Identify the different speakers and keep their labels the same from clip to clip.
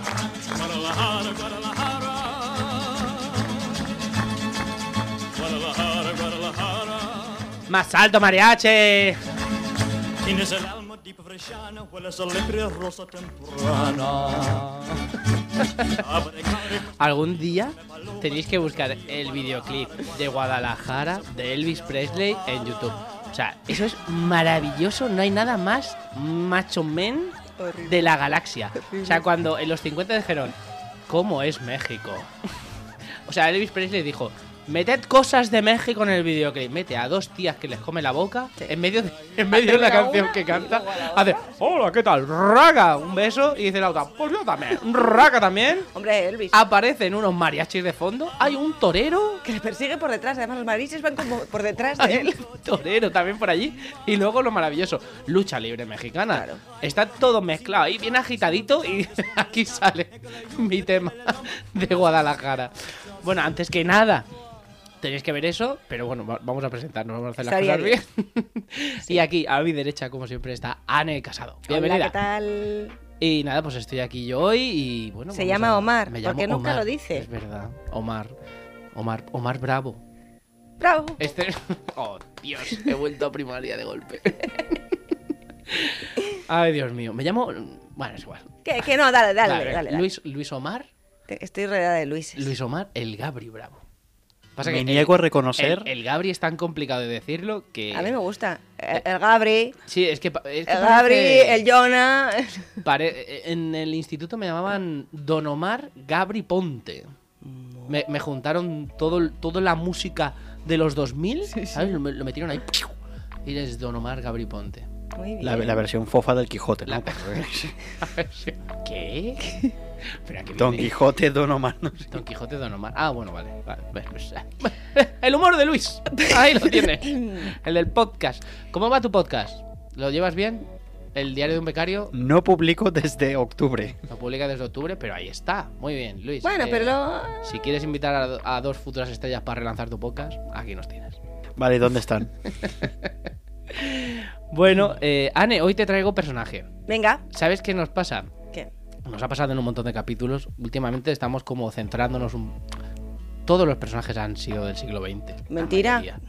Speaker 1: Guadalajara, Guadalajara. Guadalajara, Guadalajara.
Speaker 2: Más alto, mariachi.
Speaker 1: Tienes el alma de freshana, hueles a lepre rosa temprana. Abre cara,
Speaker 2: Algún día tenéis que buscar el videoclip de Guadalajara de Elvis Presley en YouTube. O sea, eso es maravilloso. No hay nada más macho men de la galaxia. O sea, cuando en los 50 dijeron, ¿cómo es México? O sea, Elvis Presley dijo, meted cosas de México en el videoclip. Mete a dos tías que les come la boca en medio de, en medio de la
Speaker 3: Primero
Speaker 2: canción
Speaker 3: una
Speaker 2: que
Speaker 3: y
Speaker 2: canta.
Speaker 3: luego a la
Speaker 2: Hace, hola, ¿qué tal? Raga, un beso. Y dice la otra, pues yo también. Raga también.
Speaker 3: Hombre, Elvis.
Speaker 2: Ah. Aparecen unos mariachis de fondo. Hay un torero.
Speaker 3: Que le persigue por detrás. Además, los mariachis van como por detrás de
Speaker 2: Hay
Speaker 3: él.
Speaker 2: un torero también por allí. Y luego lo maravilloso, lucha libre mexicana. Está todo mezclado ahí, bien agitadito. Y aquí sale mi tema de Guadalajara. Bueno, antes que nada, tenéis que ver eso. Pero bueno, va- vamos a presentarnos, vamos a hacer las
Speaker 3: Estaría
Speaker 2: cosas bien. y aquí, a mi derecha, como siempre, está Anne Casado. Bienvenida.
Speaker 3: Hola, ¿qué tal?
Speaker 2: Y nada, pues estoy aquí yo hoy y bueno.
Speaker 3: Se
Speaker 2: vamos
Speaker 3: llama Omar,
Speaker 2: me llamo
Speaker 3: porque nunca
Speaker 2: Omar,
Speaker 3: lo dice.
Speaker 2: Es verdad, Omar. Omar, Omar Bravo.
Speaker 3: Bravo.
Speaker 2: Este. Oh, Dios, he vuelto a primaria de golpe. Ay, Dios mío. Me llamo. Bueno, es igual.
Speaker 3: Que, que no, dale, dale, dale. dale.
Speaker 2: Luis, Luis Omar.
Speaker 3: Estoy rodeada de Luis.
Speaker 2: Luis Omar, el Gabri Bravo. Pasa
Speaker 4: Me
Speaker 2: el-
Speaker 4: niego a reconocer.
Speaker 2: El, el Gabri es tan complicado de decirlo que.
Speaker 3: A mí me gusta. El, el Gabri,
Speaker 2: Sí, es que. pa- Eh, es que
Speaker 3: el Gabri,
Speaker 2: parece-
Speaker 3: el Jonah.
Speaker 2: Pare- eh, En el instituto me llamaban Don Omar Gabri Ponte. Me, me juntaron todo, el- toda la música de los 2000, ¿sabes? Lo, lo metieron ahí. ¡piu! Y eres Don Omar Gabri Ponte.
Speaker 3: Muy bien.
Speaker 4: La, la versión fofa del Quijote, ¿no?
Speaker 2: La- ¿Qué? Espera, que
Speaker 4: Don
Speaker 2: viene-
Speaker 4: Quijote, Don Omar. no sé.
Speaker 2: Don Quijote, Don Omar. Ah, bueno, vale. vale, ves, ves. El humor de Luis. Ahí lo tienes. El del podcast. ¿Cómo va tu podcast? ¿Lo llevas bien? ¿El diario de un becario?
Speaker 4: No publico desde octubre.
Speaker 2: Lo publica desde octubre, pero ahí está. Muy bien, Luis.
Speaker 3: Bueno,
Speaker 2: Eh,
Speaker 3: pero lo-
Speaker 2: Si quieres invitar a, do- a dos futuras estrellas para relanzar tu podcast, aquí nos tienes.
Speaker 4: Vale, ¿dónde están?
Speaker 2: Bueno, eh, Anne, hoy te traigo personaje.
Speaker 3: Venga.
Speaker 2: ¿Sabes qué nos pasa?
Speaker 3: ¿Qué?
Speaker 2: Nos ha pasado en un montón de capítulos. Últimamente estamos como centrándonos un... Todos los personajes han sido del siglo XX. la
Speaker 3: Mentira.
Speaker 2: mayoría.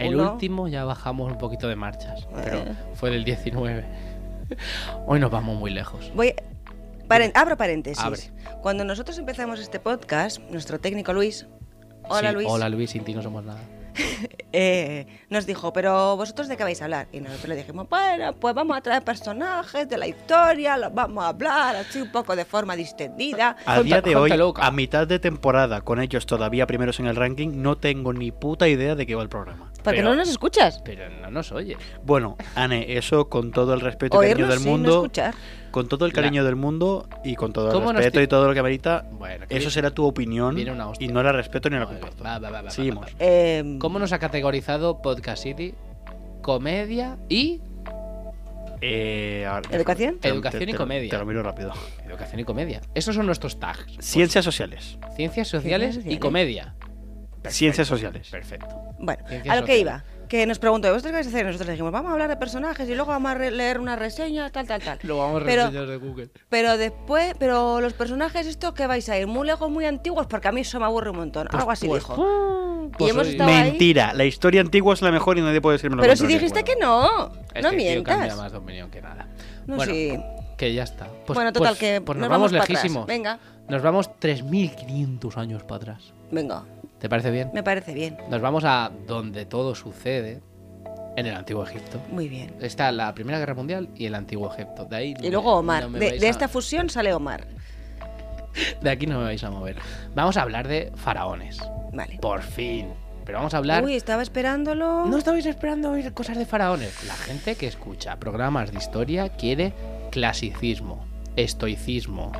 Speaker 2: El
Speaker 3: Uno.
Speaker 2: último ya bajamos un poquito de marchas, pero
Speaker 3: Eh.
Speaker 2: fue del 19. Hoy nos vamos muy lejos.
Speaker 3: Voy. paren- abro paréntesis.
Speaker 2: Abre.
Speaker 3: Cuando nosotros empezamos este podcast, nuestro técnico Luis. Hola
Speaker 2: Sí,
Speaker 3: Luis.
Speaker 2: Hola Luis, sin ti no somos nada.
Speaker 3: eh, nos dijo, pero vosotros de qué vais a hablar? Y nosotros le dijimos, bueno, pues vamos a traer personajes de la historia, los vamos a hablar así un poco de forma distendida.
Speaker 4: A día de
Speaker 2: Jonta
Speaker 4: hoy,
Speaker 2: loca.
Speaker 4: a mitad de temporada, con ellos todavía primeros en el ranking, no tengo ni puta idea de qué va el programa.
Speaker 3: Porque
Speaker 2: Pero-
Speaker 3: no nos escuchas.
Speaker 2: Pero no nos oye.
Speaker 4: Bueno, Anne, eso con todo el respeto y cariño
Speaker 3: Oírnos
Speaker 4: del
Speaker 3: sí, no
Speaker 4: mundo,
Speaker 3: escuchar.
Speaker 4: con todo el cariño del mundo y con todo
Speaker 2: ¿Cómo
Speaker 4: el
Speaker 2: nos
Speaker 4: respeto
Speaker 2: ti-
Speaker 4: y todo lo que amerita,
Speaker 2: Bueno, que
Speaker 4: eso
Speaker 2: vi-
Speaker 4: será tu opinión
Speaker 2: viene una hostia.
Speaker 4: y no la respeto ni la
Speaker 2: Muy bien,
Speaker 4: comparto.
Speaker 2: va, va, va, va,
Speaker 4: Seguimos.
Speaker 2: va, va,
Speaker 3: Eh,
Speaker 2: ¿Cómo nos ha categorizado Podcast City? Comedia y.
Speaker 4: Eh, ahora-
Speaker 3: ¿Educación?
Speaker 4: te- te-
Speaker 2: Educación y
Speaker 4: te-
Speaker 2: comedia. Pues
Speaker 4: Te lo miro rápido.
Speaker 2: Educación y comedia. Esos son nuestros tags.
Speaker 4: Ciencias sociales.
Speaker 2: Ciencias sociales y
Speaker 3: sociales.
Speaker 2: comedia.
Speaker 4: Ciencias sociales.
Speaker 2: Perfecto.
Speaker 3: Bueno,
Speaker 2: Ciencias
Speaker 3: a lo que
Speaker 2: sociales.
Speaker 3: iba. Que nos preguntó, ¿vosotros qué vais a hacer? Y Nosotros dijimos, vamos a hablar de personajes y luego vamos a re- leer una reseña, tal, tal, tal.
Speaker 2: Lo vamos a
Speaker 3: Pero-
Speaker 2: reseñar de Google.
Speaker 3: Pero después, pero los personajes estos que vais a ir, muy lejos, muy antiguos, porque a mí eso me aburre un montón. Algo así
Speaker 2: pues,
Speaker 3: dijo.
Speaker 2: pues
Speaker 3: y hemos
Speaker 2: hoy-
Speaker 3: estado ahí.
Speaker 4: Mentira, la historia antigua es la mejor y nadie puede decirme lo
Speaker 3: Pero si
Speaker 4: contrario.
Speaker 3: dijiste que no,
Speaker 2: Este tío
Speaker 3: no
Speaker 2: cambia
Speaker 3: mientas.
Speaker 2: más de opinión que nada.
Speaker 3: No,
Speaker 2: bueno,
Speaker 3: sí.
Speaker 2: que ya está. Pues-
Speaker 3: bueno, total,
Speaker 2: pues-
Speaker 3: que
Speaker 2: pues
Speaker 3: nos, vamos, para atrás.
Speaker 2: lejísimos.
Speaker 3: Venga,
Speaker 2: Nos vamos 3.500 años para atrás.
Speaker 3: venga,
Speaker 2: ¿Te parece bien?
Speaker 3: me parece bien.
Speaker 2: Nos vamos a donde todo sucede, en el Antiguo Egipto.
Speaker 3: Muy bien.
Speaker 2: Está la Primera Guerra Mundial y el Antiguo Egipto. De ahí
Speaker 3: Y luego Omar.
Speaker 2: no me
Speaker 3: de,
Speaker 2: vais
Speaker 3: de
Speaker 2: a-
Speaker 3: esta fusión sale Omar.
Speaker 2: de aquí no me vais a mover. Vamos a hablar de faraones.
Speaker 3: Vale.
Speaker 2: Por fin. Pero vamos a hablar.
Speaker 3: Uy, estaba esperándolo.
Speaker 2: No estabais esperando oír cosas de faraones. La gente que escucha programas de historia quiere clasicismo, estoicismo,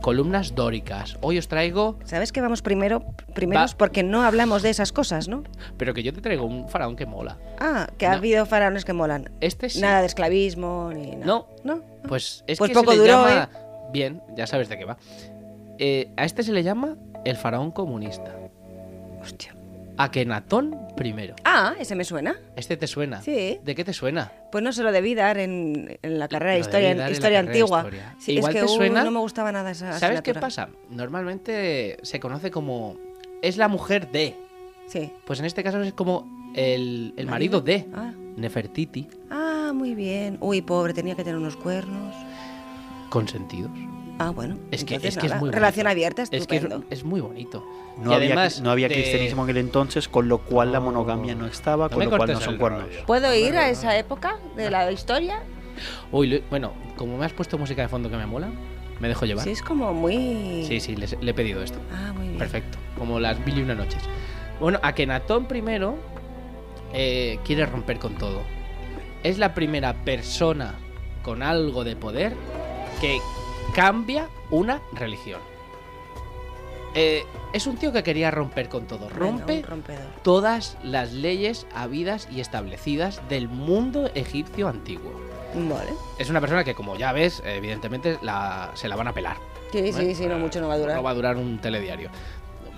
Speaker 2: columnas dóricas. Hoy os traigo,
Speaker 3: ¿Sabes que vamos primero? Primeros
Speaker 2: Va.
Speaker 3: porque no hablamos de esas cosas, ¿no?
Speaker 2: pero que yo te traigo un faraón que mola.
Speaker 3: Ah, que ha
Speaker 2: No.
Speaker 3: habido faraones que molan.
Speaker 2: Este sí.
Speaker 3: Nada de esclavismo ni nada.
Speaker 2: No.
Speaker 3: ¿No?
Speaker 2: Pues es
Speaker 3: Pues
Speaker 2: que
Speaker 3: poco
Speaker 2: se le
Speaker 3: duró,
Speaker 2: llama... Bien, ya sabes de qué va. Eh, a este se le llama el faraón comunista.
Speaker 3: Hostia.
Speaker 2: Akenatón I.
Speaker 3: Ah, ese me suena.
Speaker 2: ¿Este te suena?
Speaker 3: Sí.
Speaker 2: ¿De qué te suena?
Speaker 3: Pues no se lo debí dar en, en la carrera de
Speaker 2: Lo
Speaker 3: historia,
Speaker 2: debí dar en la
Speaker 3: historia
Speaker 2: carrera de
Speaker 3: antigua.
Speaker 2: historia.
Speaker 3: Sí,
Speaker 2: Igual
Speaker 3: es que
Speaker 2: te
Speaker 3: uh,
Speaker 2: suena-
Speaker 3: no me gustaba nada esa
Speaker 2: ¿Sabes qué
Speaker 3: asignatura.
Speaker 2: pasa? Normalmente se conoce como... Es la mujer de...
Speaker 3: Sí.
Speaker 2: Pues en este caso es como el, el marido de
Speaker 3: Ah.
Speaker 2: Nefertiti,
Speaker 3: Ah, muy bien. Uy, pobre, tenía que tener unos cuernos.
Speaker 2: consentidos.
Speaker 3: Ah, bueno.
Speaker 2: Es que,
Speaker 3: entonces
Speaker 2: es, que es
Speaker 3: nada.
Speaker 2: muy
Speaker 3: Relación
Speaker 2: bonito.
Speaker 3: abierta,
Speaker 2: Es que es,
Speaker 3: estupendo.
Speaker 2: es muy bonito.
Speaker 4: No
Speaker 2: Y
Speaker 4: había,
Speaker 2: además
Speaker 4: no había
Speaker 2: de-
Speaker 4: cristianismo en el entonces, con lo cual la monogamia no estaba,
Speaker 2: No
Speaker 4: con
Speaker 2: me
Speaker 4: lo cual no
Speaker 2: cortes
Speaker 4: son
Speaker 2: el
Speaker 4: cuernos.
Speaker 2: rollo.
Speaker 3: ¿Puedo ir a esa época de la historia?
Speaker 2: Uy, lo- bueno, como me has puesto música de fondo que me mola, me dejo llevar.
Speaker 3: Sí, es como muy...
Speaker 2: sí, sí, les- le he pedido esto.
Speaker 3: Ah, muy bien.
Speaker 2: Perfecto, como las mil y una noches. Bueno, Akenatón primero eh, quiere romper con todo. Es la primera persona con algo de poder que cambia una religión. Eh, es un tío que quería romper con todo.
Speaker 3: Venga, un
Speaker 2: Rompe
Speaker 3: rompedor.
Speaker 2: todas las leyes habidas y establecidas del mundo egipcio antiguo.
Speaker 3: Vale.
Speaker 2: Es una persona que, como ya ves, evidentemente la- se la van a pelar.
Speaker 3: Sí, sí,
Speaker 2: Bueno,
Speaker 3: sí, no
Speaker 2: eh,
Speaker 3: mucho no va a
Speaker 2: No
Speaker 3: durar.
Speaker 2: va a durar un telediario.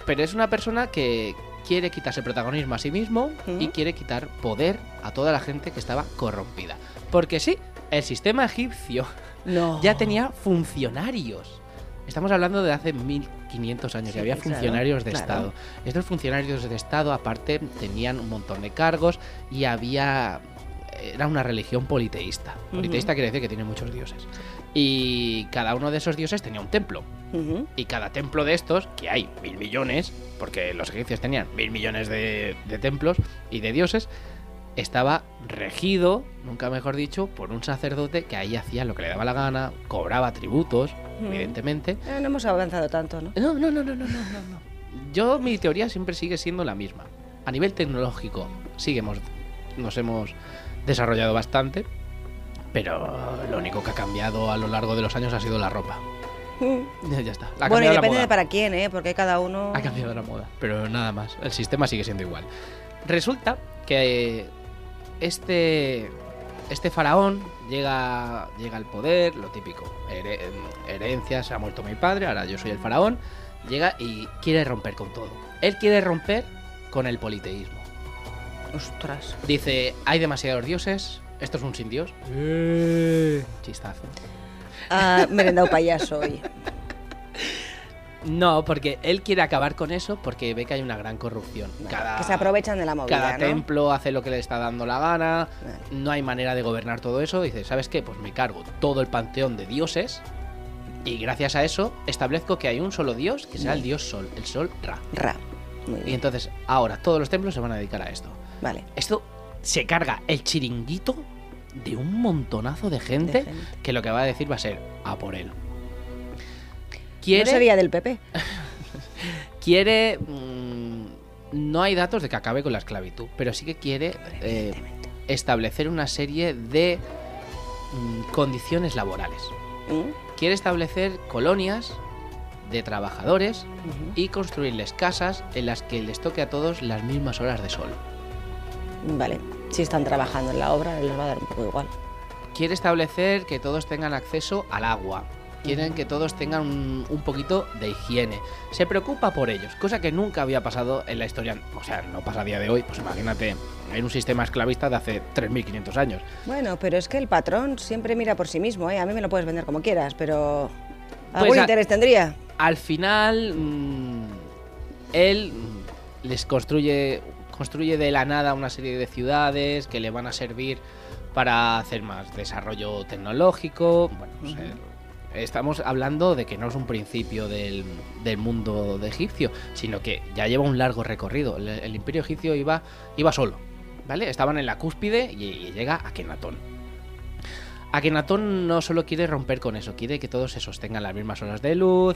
Speaker 2: Pero es una persona que quiere quitarse protagonismo a sí mismo y
Speaker 3: Ujú.
Speaker 2: quiere quitar poder a toda la gente que estaba corrompida. Porque sí, el sistema egipcio
Speaker 3: No.
Speaker 2: ya tenía funcionarios. Estamos hablando de hace 1500 años
Speaker 3: Sí,
Speaker 2: y había
Speaker 3: claro,
Speaker 2: funcionarios de
Speaker 3: claro.
Speaker 2: Estado. Estos funcionarios de Estado, aparte, tenían un montón de cargos y había. Era una religión politeísta. Politeísta quiere decir que tiene muchos dioses. Y cada uno de esos dioses tenía un templo.
Speaker 3: Ujú.
Speaker 2: Y cada templo de estos, que hay mil millones, porque los egipcios tenían mil millones de, de templos y de dioses, estaba regido, nunca mejor dicho, por un sacerdote que ahí hacía lo que le daba la gana, cobraba tributos,
Speaker 3: Mm.
Speaker 2: evidentemente.
Speaker 3: Eh, no hemos avanzado tanto, ¿no?
Speaker 2: No, no, no, no, no, no, no, no. Yo, mi teoría siempre sigue siendo la misma. A nivel tecnológico, sí que hemos, nos hemos desarrollado bastante, pero lo único que ha cambiado a lo largo de los años ha sido la ropa.
Speaker 3: Mm.
Speaker 2: Ya está. Ha cambiado
Speaker 3: Bueno, y
Speaker 2: la
Speaker 3: depende
Speaker 2: moda. Ah,
Speaker 3: de para quién, ¿eh? Porque cada uno...
Speaker 2: Ha cambiado la moda, pero nada más. El sistema sigue siendo igual. Resulta que eh, este, este faraón llega, llega al poder, lo típico. here- herencias, ha muerto mi padre, ahora yo soy el faraón. Llega y quiere romper con todo. Él quiere romper con el politeísmo.
Speaker 3: Ostras.
Speaker 2: Dice, hay demasiados dioses, esto es un sin dios. Chistazo.
Speaker 3: Ah, merendado payaso, oye.
Speaker 2: No, porque él quiere acabar con eso porque ve que hay una gran corrupción. Cada-
Speaker 3: Que se aprovechan de la movida,
Speaker 2: Cada
Speaker 3: ¿no?
Speaker 2: templo hace lo que le está dando la gana.
Speaker 3: Vale.
Speaker 2: No hay manera de gobernar todo eso. Dice, ¿sabes qué? Pues me cargo todo el panteón de dioses. Y gracias a eso establezco que hay un solo dios, que sea el dios sol, el sol Ra.
Speaker 3: Ra. Muy
Speaker 2: Y
Speaker 3: bien.
Speaker 2: entonces ahora todos los templos se van a dedicar a esto.
Speaker 3: Vale.
Speaker 2: Esto se carga el chiringuito de un montonazo de gente,
Speaker 3: De gente.
Speaker 2: que lo que va a decir va a ser a por él.
Speaker 3: No
Speaker 2: Quiere,
Speaker 3: sería del PP.
Speaker 2: quiere... mm, no hay datos de que acabe con la esclavitud, pero sí que quiere... eh,
Speaker 3: Evidentemente.
Speaker 2: establecer una serie de mm, condiciones laborales.
Speaker 3: Mm.
Speaker 2: Quiere establecer colonias de trabajadores
Speaker 3: Ujú.
Speaker 2: y construirles casas en las que les toque a todos las mismas horas de sol.
Speaker 3: Vale. Si están trabajando en la obra, les va a dar un poco igual.
Speaker 2: Quiere establecer que todos tengan acceso al agua. Quieren que todos tengan un, un poquito de higiene. Se preocupa por ellos, cosa que nunca había pasado en la historia. O sea, no pasa a día de hoy. Pues imagínate, en un sistema esclavista de hace 3.500 años.
Speaker 3: Bueno, pero es que el patrón siempre mira por sí mismo, ¿eh? A mí me lo puedes vender como quieras, pero...
Speaker 2: Pues
Speaker 3: ¿Algún
Speaker 2: a-
Speaker 3: interés tendría?
Speaker 2: al final mm, él mm, les construye construye de la nada una serie de ciudades que le van a servir para hacer más desarrollo tecnológico bueno o sea, estamos hablando de que no es un principio del, del mundo de egipcio sino que ya lleva un largo recorrido el, el imperio egipcio iba iba solo vale estaban en la cúspide y, y llega Akenatón Akenatón no solo quiere romper con eso, quiere que todos se sostengan las mismas horas de luz,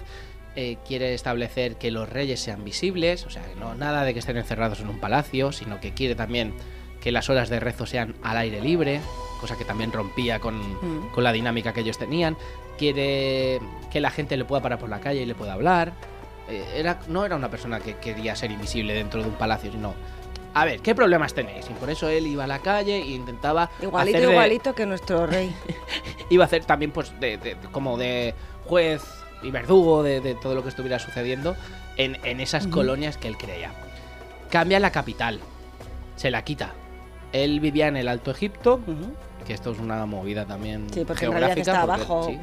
Speaker 2: eh, quiere establecer que los reyes sean visibles, o sea, que no nada de que estén encerrados en un palacio, sino que quiere también que las horas de rezo sean al aire libre, cosa que también rompía con,
Speaker 3: Mm.
Speaker 2: con la dinámica que ellos tenían. quiere que la gente le pueda parar por la calle y le pueda hablar. Eh, era, no era una persona que quería ser invisible dentro de un palacio, sino... A ver, ¿qué problemas tenéis? Y por eso él iba a la calle e intentaba...
Speaker 3: Igualito,
Speaker 2: hacer de-
Speaker 3: igualito que nuestro rey.
Speaker 2: Iba a hacer también, pues, de, de- como de juez y verdugo de, de todo lo que estuviera sucediendo en, en esas colonias que él creía. Cambia la capital. Se la quita. Él vivía en el Alto Egipto, que esto es una movida también
Speaker 3: Sí, porque en
Speaker 2: geográfica.
Speaker 3: realidad está
Speaker 2: porque,
Speaker 3: abajo.
Speaker 2: sí,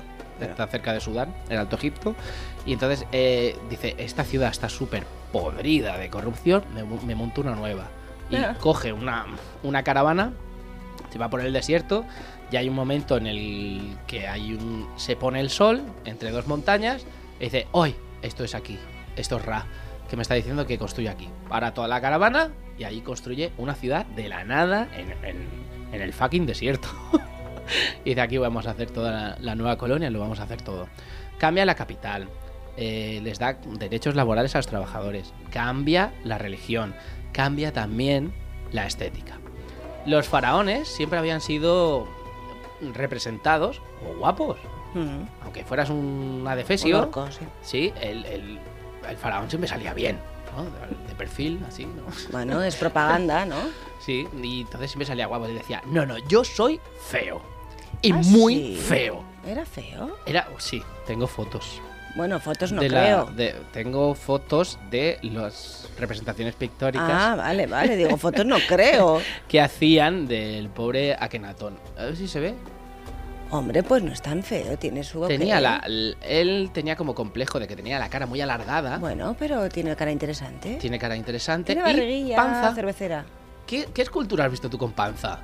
Speaker 2: está cerca de Sudán, el Alto Egipto. Y entonces eh, dice, esta ciudad está súper podrida de corrupción, me, mu- me monto una nueva. Y
Speaker 3: Ah.
Speaker 2: coge una, una caravana, se va por el desierto y hay un momento en el que hay un, se pone el sol entre dos montañas y dice, hoy, esto es aquí, esto es Ra, que me está diciendo que construya aquí. Para toda la caravana y ahí construye una ciudad de la nada en, en- en el fucking desierto. y de aquí vamos a hacer toda la, la nueva colonia, lo vamos a hacer todo. Cambia la capital, eh, les da derechos laborales a los trabajadores, cambia la religión, cambia también la estética. Los faraones siempre habían sido representados o guapos,
Speaker 3: Mm.
Speaker 2: aunque fueras un
Speaker 3: Un
Speaker 2: adefesio.
Speaker 3: orco, sí.
Speaker 2: Sí, el, el- el faraón siempre salía bien, ¿no? De, de perfil, así, ¿no?
Speaker 3: Bueno, es propaganda, ¿no?
Speaker 2: Sí, y entonces siempre salía guapo y decía, no, no, yo soy feo. Y
Speaker 3: Ah,
Speaker 2: muy
Speaker 3: sí.
Speaker 2: feo.
Speaker 3: ¿Era feo?
Speaker 2: Era, sí, tengo fotos.
Speaker 3: Bueno, fotos Pues no
Speaker 2: de la-
Speaker 3: creo.
Speaker 2: de- tengo fotos de las representaciones pictóricas
Speaker 3: Ah, vale, vale. Digo, fotos no creo.
Speaker 2: que hacían del pobre Akenatón. A ver si se ve.
Speaker 3: Hombre, pues no es tan feo. Tiene su...
Speaker 2: Tenía
Speaker 3: ok.
Speaker 2: la, l- él tenía como complejo de que tenía la cara muy alargada,
Speaker 3: Bueno, pero tiene cara interesante.
Speaker 2: tiene cara interesante
Speaker 3: Tiene
Speaker 2: y
Speaker 3: barriguilla
Speaker 2: panza.
Speaker 3: cervecera.
Speaker 2: ¿Qué, ¿Qué escultura has visto tú con panza?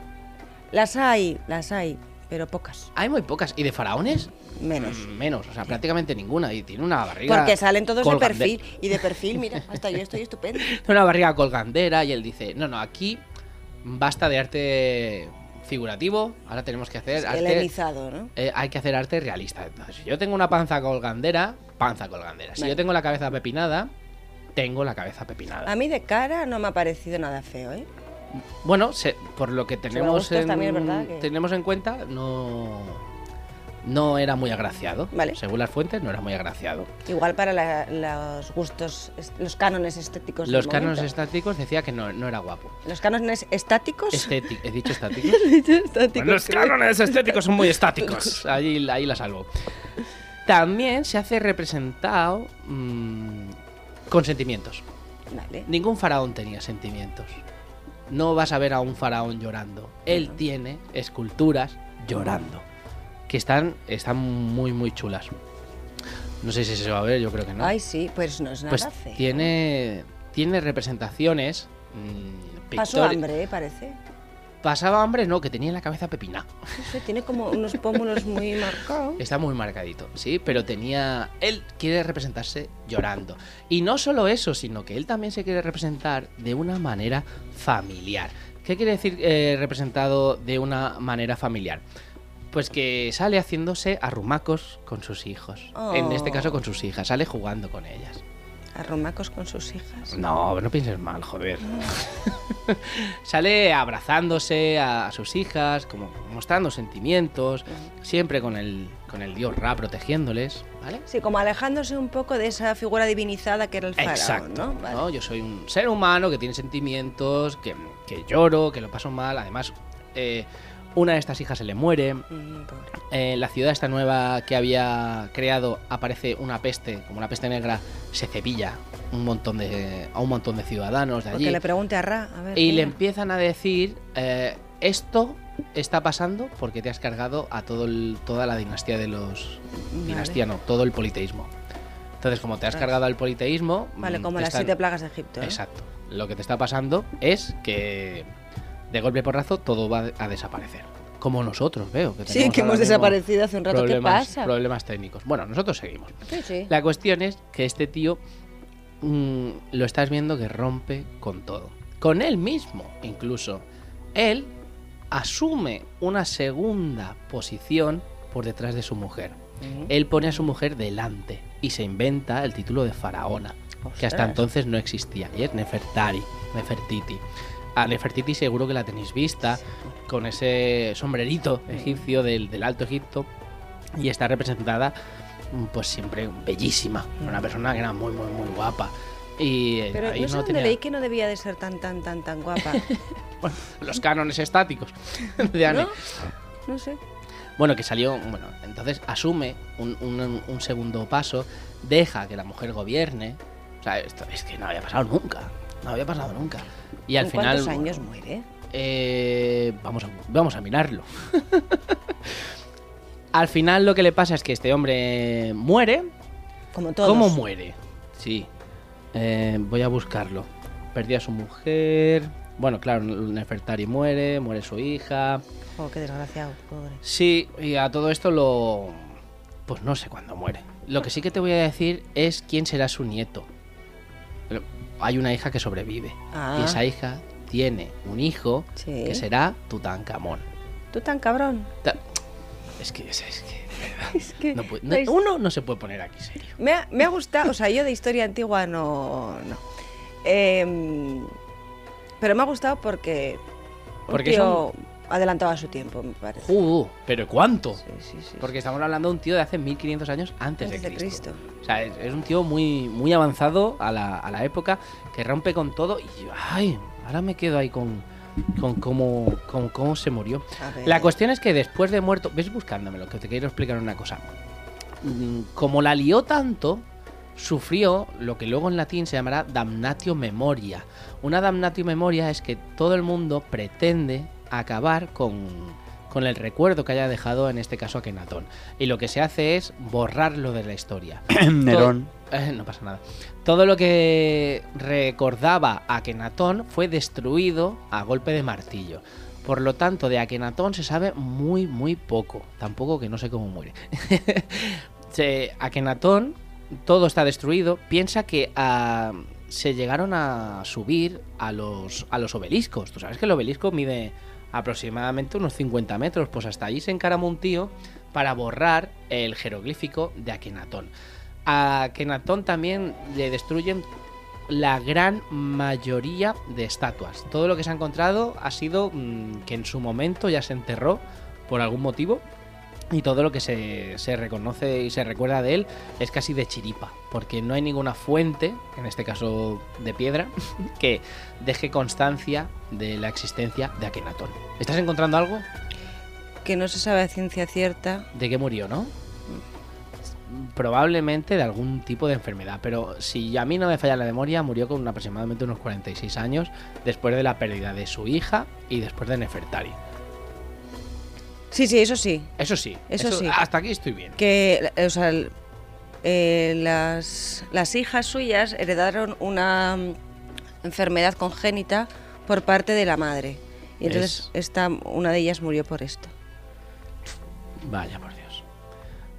Speaker 3: Las hay, las hay, pero pocas.
Speaker 2: Hay muy pocas. ¿Y de faraones?
Speaker 3: Menos.
Speaker 2: Mm, Menos, o sea, prácticamente ninguna. Y tiene una barriga.
Speaker 3: Porque salen todos
Speaker 2: colgande-
Speaker 3: de perfil. Y de perfil, mira, hasta yo estoy estupendo.
Speaker 2: Tiene una barriga colgandera y él dice: No, no, aquí basta de arte figurativo. Ahora tenemos que
Speaker 3: Pues
Speaker 2: hacer arte.
Speaker 3: Helenizado, ¿no?
Speaker 2: eh, hay que hacer arte realista. Entonces, si yo tengo una panza colgandera, panza colgandera. Si
Speaker 3: Vale.
Speaker 2: yo tengo la cabeza pepinada, tengo la cabeza pepinada.
Speaker 3: A mí de cara no me ha parecido nada feo, ¿eh?
Speaker 2: Bueno, se- por lo que tenemos
Speaker 3: gustos
Speaker 2: en,
Speaker 3: también es verdad que-
Speaker 2: tenemos en cuenta, no, no era muy agraciado.
Speaker 3: Vale.
Speaker 2: Según las fuentes, no era muy agraciado.
Speaker 3: Igual para la- los gustos, est- los cánones estéticos. del
Speaker 2: Los cánones
Speaker 3: Pues momento.
Speaker 2: estáticos decía que no, no era guapo.
Speaker 3: Los cánones estáticos.
Speaker 2: Estéti- ¿He dicho estáticos?
Speaker 3: estáticos.
Speaker 2: Este- Los cánones estéticos son muy estáticos. Ahí, ahí la salvo. También se hace representado mm, con sentimientos.
Speaker 3: Vale.
Speaker 2: Ningún faraón tenía sentimientos. No vas a ver a un faraón llorando. Él tiene esculturas llorando. Que están, están muy, muy chulas. No sé si se va a ver, yo creo que no.
Speaker 3: Ay, sí, pues no es nada
Speaker 2: pues
Speaker 3: feo.
Speaker 2: tiene, tiene representaciones. mm,
Speaker 3: Pasó
Speaker 2: pictori-
Speaker 3: hambre, ¿eh? parece.
Speaker 2: Pasaba hambre, no, que tenía la cabeza pepina.
Speaker 3: No sé, tiene como unos pómulos muy marcados.
Speaker 2: Está muy marcadito, sí, pero tenía. Él quiere representarse llorando. Y no solo eso, sino que él también se quiere representar de una manera familiar. ¿Qué quiere decir eh, representado de una manera familiar? Pues que sale haciéndose arrumacos con sus hijos. En este
Speaker 3: Oh.
Speaker 2: caso con sus hijas, sale jugando con ellas.
Speaker 3: Arromacos con sus hijas.
Speaker 2: No, no pienses mal, joder. Sale abrazándose a, a sus hijas, como mostrando sentimientos, siempre con el, con el dios Ra protegiéndoles, ¿vale?
Speaker 3: Sí, como alejándose un poco de esa figura divinizada que era el faraón,
Speaker 2: Exacto.
Speaker 3: ¿no? Vale.
Speaker 2: ¿no? Yo soy un ser humano que tiene sentimientos, que, que lloro, que lo paso mal. Además, eh, una de estas hijas se le muere.
Speaker 3: Mm, pobre.
Speaker 2: En la ciudad esta nueva que había creado aparece una peste, como una peste negra, se cepilla un montón de, a un montón de ciudadanos de allí.
Speaker 3: Porque le pregunte a Ra, a ver.
Speaker 2: Y le
Speaker 3: mira.
Speaker 2: empiezan a decir, eh, esto está pasando porque te has cargado a todo el- toda la dinastía de los...
Speaker 3: Vale.
Speaker 2: Dinastía no, todo el politeísmo. Entonces, como te has
Speaker 3: Ah.
Speaker 2: cargado al politeísmo...
Speaker 3: Vale,
Speaker 2: mm,
Speaker 3: como
Speaker 2: te
Speaker 3: las
Speaker 2: están-
Speaker 3: siete plagas de Egipto. ¿eh? ¿no?
Speaker 2: Exacto. Lo que te está pasando es que de golpe porrazo todo va a desaparecer. Como nosotros, veo. Que
Speaker 3: Sí,
Speaker 2: tenemos
Speaker 3: que
Speaker 2: ahora
Speaker 3: hemos
Speaker 2: mismo
Speaker 3: desaparecido hace un rato. ¿Qué
Speaker 2: problemas-
Speaker 3: pasa?
Speaker 2: Problemas técnicos. Bueno, nosotros seguimos.
Speaker 3: Sí, sí.
Speaker 2: La cuestión es que este tío mm, lo estás viendo que rompe con todo. Con él mismo, incluso. Él asume una segunda posición por detrás de su mujer.
Speaker 3: Mm.
Speaker 2: Él pone a su mujer delante y se inventa el título de faraona, que hasta
Speaker 3: Ostras.
Speaker 2: entonces no existía. Y es Nefertari, Nefertiti. A Nefertiti seguro que la tenéis vista, con ese sombrerito egipcio del, del Alto Egipto, y está representada mm, pues siempre bellísima, una persona que era muy muy muy guapa y eh,
Speaker 3: Mm. Pero
Speaker 2: ahí
Speaker 3: no sé
Speaker 2: no
Speaker 3: dónde
Speaker 2: tenía
Speaker 3: leí que no debía de ser tan, tan, tan, tan guapa.
Speaker 2: los cánones estáticos de Anne.
Speaker 3: ¿No? No sé.
Speaker 2: Bueno, que salió, bueno, entonces asume un, un- un segundo paso, deja que la mujer gobierne, o sea, esto es que no había pasado nunca, no había pasado nunca. Y al
Speaker 3: ¿Con
Speaker 2: final...
Speaker 3: ¿Cuántos años
Speaker 2: bueno,
Speaker 3: muere?
Speaker 2: eh, vamos, a, vamos a mirarlo. al final lo que le pasa es que este hombre muere,
Speaker 3: Como todos.
Speaker 2: ¿Cómo muere? Sí. Eh, voy a buscarlo. Perdió a su mujer. Bueno, claro, Nefertari muere, muere su hija.
Speaker 3: Oh, qué desgraciado, pobre.
Speaker 2: Sí, y a todo esto lo... Pues no sé cuándo muere. Lo que sí que te voy a decir es quién será su nieto. Pero Hay una hija que sobrevive.
Speaker 3: Ah.
Speaker 2: Y esa hija tiene un hijo
Speaker 3: Sí.
Speaker 2: que será Tutankamón.
Speaker 3: Tú tan cabrón.
Speaker 2: Ta- Es que, es, es que, de verdad.
Speaker 3: Es que
Speaker 2: no puede-
Speaker 3: la his-
Speaker 2: no- uno no se puede poner aquí serio.
Speaker 3: me, ha, me ha gustado, o sea, yo de historia antigua no. no. Em, pero me ha gustado porque. un
Speaker 2: Porque es
Speaker 3: tío adelantado a su tiempo, me parece.
Speaker 2: ¡Uh! ¿Pero cuánto?
Speaker 3: Sí, sí, sí.
Speaker 2: Porque estamos hablando de un tío de hace 1500 años antes,
Speaker 3: Antes
Speaker 2: de,
Speaker 3: de
Speaker 2: Cristo.
Speaker 3: Cristo.
Speaker 2: O sea, es, es un tío muy, muy avanzado a la, a la época, que rompe con todo y yo, ay, ahora me quedo ahí con, con, cómo, con cómo se murió.
Speaker 3: A ver.
Speaker 2: La cuestión es que después de muerto, ves buscándomelo, que te quiero explicar una cosa. Mm, Como la lió tanto, sufrió lo que luego en latín se llamará damnatio memoria. Una damnatio memoria es que todo el mundo pretende acabar con, con el recuerdo que haya dejado, en este caso, Akenatón. Y lo que se hace es borrarlo de la historia.
Speaker 4: Nerón.
Speaker 2: Todo- eh, no pasa nada. Todo lo que recordaba a Akenatón fue destruido a golpe de martillo. Por lo tanto, de Akenatón se sabe muy, muy poco. Tampoco que no sé cómo muere. Se- Akenatón, todo está destruido. Piensa que ah, se llegaron a subir a los, a los obeliscos. Tú sabes que el obelisco mide aproximadamente unos 50 metros. Pues hasta allí se encaramó un tío para borrar el jeroglífico de Akenatón. A Akenatón también le destruyen la gran mayoría de estatuas. Todo lo que se ha encontrado ha sido mm, que en su momento ya se enterró por algún motivo y todo lo que se, se reconoce y se recuerda de él es casi de chiripa, porque no hay ninguna fuente, en este caso de piedra, que deje constancia de la existencia de Akenatón. ¿Estás encontrando algo?
Speaker 3: Que no se sabe a ciencia cierta.
Speaker 2: de que murió, ¿no? Probablemente de algún tipo de enfermedad, pero si a mí no me falla la memoria, murió con aproximadamente unos 46 años después de la pérdida de su hija y después de Nefertari.
Speaker 3: Sí, sí, eso sí.
Speaker 2: Eso sí,
Speaker 3: Eso sí.
Speaker 2: Hasta aquí estoy bien.
Speaker 3: Que, eh, o sea, el- eh, las, las hijas suyas heredaron una mm, enfermedad congénita por parte de la madre. Y entonces esta, una de ellas murió por esto.
Speaker 2: Vaya por Dios.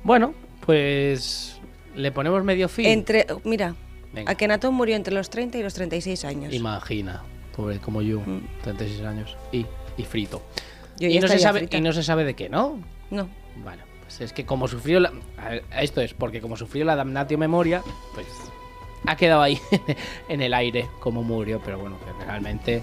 Speaker 2: Bueno, pues le ponemos medio fin.
Speaker 3: Entre, mira,
Speaker 2: Venga.
Speaker 3: Akenatón murió entre los 30 y los 36 años.
Speaker 2: Imagina, pobre como yo, 36 años y, y frito.
Speaker 3: Mm. Yo
Speaker 2: y,
Speaker 3: ya
Speaker 2: no se
Speaker 3: estaría
Speaker 2: sabe,
Speaker 3: frita.
Speaker 2: y no se sabe de qué, ¿no?
Speaker 3: No.
Speaker 2: Bueno, pues es que como sufrió la... a ver, Esto es, porque como sufrió la damnatio memoria, pues ha quedado ahí en el aire como murió, pero bueno, que realmente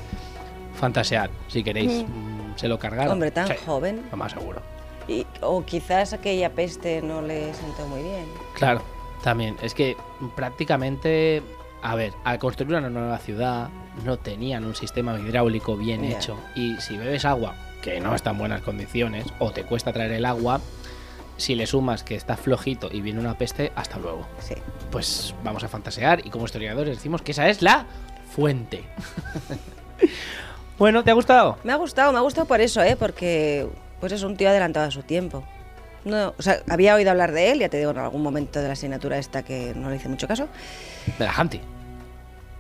Speaker 2: fantasear, si queréis, Mm, se lo cargaron.
Speaker 3: Hombre, tan
Speaker 2: Sí,
Speaker 3: joven.
Speaker 2: Lo más seguro.
Speaker 3: Y- o quizás aquella peste no le sentó muy bien.
Speaker 2: Claro, también. Es que prácticamente, a ver, al construir una nueva ciudad no tenían un sistema hidráulico bien
Speaker 3: Ya.
Speaker 2: hecho. Y si bebes agua, que no está en buenas condiciones, o te cuesta traer el agua, si le sumas que está flojito y viene una peste, hasta luego.
Speaker 3: Sí.
Speaker 2: Pues vamos a fantasear y como historiadores decimos que esa es la fuente. bueno, ¿te ha gustado?
Speaker 3: Me ha gustado, me ha gustado por eso, ¿eh? Porque pues es un tío adelantado a su tiempo. No, o sea, había oído hablar de él, ya te digo, en algún momento de la asignatura esta que no le hice mucho caso.
Speaker 2: De la Hanti.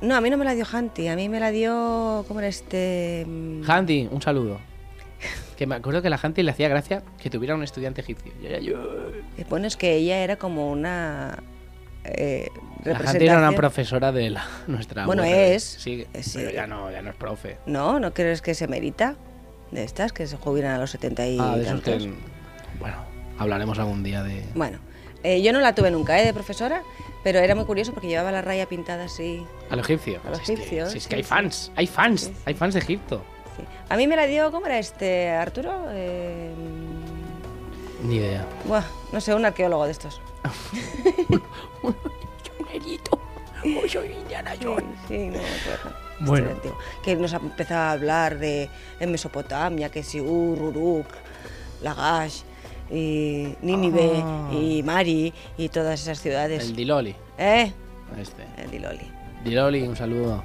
Speaker 3: No, a mí no me la dio Hanti, a mí me la dio, ¿cómo era este? Mm,
Speaker 2: Hanti, un saludo. Que me acuerdo que a la Hanti le hacía gracia que tuviera un estudiante egipcio. Y era yo.
Speaker 3: eh, Bueno, es que ella era como una eh,
Speaker 2: La Hanti era una
Speaker 3: representación-
Speaker 2: profesora de la, nuestra
Speaker 3: Bueno,
Speaker 2: web.
Speaker 3: es.
Speaker 2: Sí,
Speaker 3: Eh, sí.
Speaker 2: pero ya no, ya no es profe.
Speaker 3: No, ¿no crees que se merita? De estas, que se jubilan a los 70 y
Speaker 2: Ah, de esos
Speaker 3: tantos.
Speaker 2: que. Bueno, hablaremos algún día de.
Speaker 3: Bueno, eh, yo no la tuve nunca, ¿eh? De profesora, pero era muy curioso porque llevaba la raya pintada así.
Speaker 2: A lo egipcio.
Speaker 3: A lo
Speaker 2: Si es que-
Speaker 3: egipcio,
Speaker 2: si es que,
Speaker 3: sí,
Speaker 2: hay
Speaker 3: sí.
Speaker 2: fans, hay fans,
Speaker 3: Sí, sí.
Speaker 2: hay fans de Egipto.
Speaker 3: Sí. A mí me la dio, ¿cómo era este Arturo? Eh,
Speaker 2: Ni idea.
Speaker 3: Buah, no sé, un arqueólogo de estos. Sí, no me acuerdo. Esto
Speaker 2: Bueno.
Speaker 3: era antiguo. Que nos empezaba a hablar de en Mesopotamia, que si Ururuk, Lagash, y Nínive,
Speaker 2: Ah.
Speaker 3: y Mari, y todas esas ciudades.
Speaker 2: El Diloli.
Speaker 3: ¿Eh?
Speaker 2: Este.
Speaker 3: El Diloli.
Speaker 2: Diloli, un saludo.